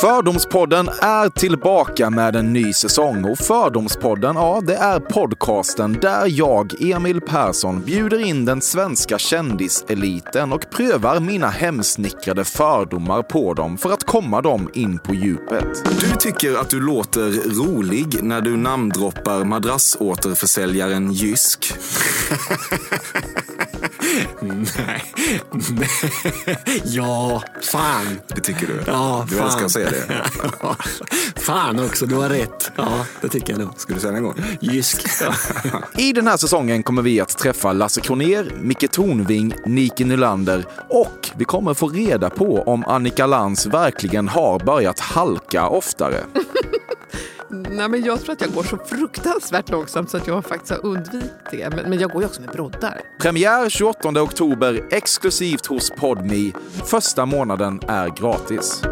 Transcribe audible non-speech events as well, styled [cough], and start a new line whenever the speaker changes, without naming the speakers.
Fördomspodden är tillbaka med en ny säsong och Fördomspodden, ja, det är podcasten där jag, Emil Persson, bjuder in den svenska kändiseliten och prövar mina hemsnickrade fördomar på dem för att komma dem in på djupet. Du tycker att du låter rolig när du namndroppar madrassåterförsäljaren Jysk.
Nej. Nej. Ja, fan.
Det tycker du?
Ja,
du
fan.
älskar att säga det.
[laughs] Ja. Fan också, du har rätt. Ja, det tycker jag nog.
Ska du säga det en gång?
Jysk. Ja.
[laughs] I den här säsongen kommer vi att träffa Lasse Kroner, Micke Tornving, Nike Nylander och vi kommer få reda på om Annika Lantz verkligen har börjat halka oftare.
Nej, men jag tror att jag går så fruktansvärt långsamt så att jag faktiskt har undvikit det. Men, men jag går ju också med broddar.
Premiär 28 oktober exklusivt hos Podmi. Första månaden är gratis.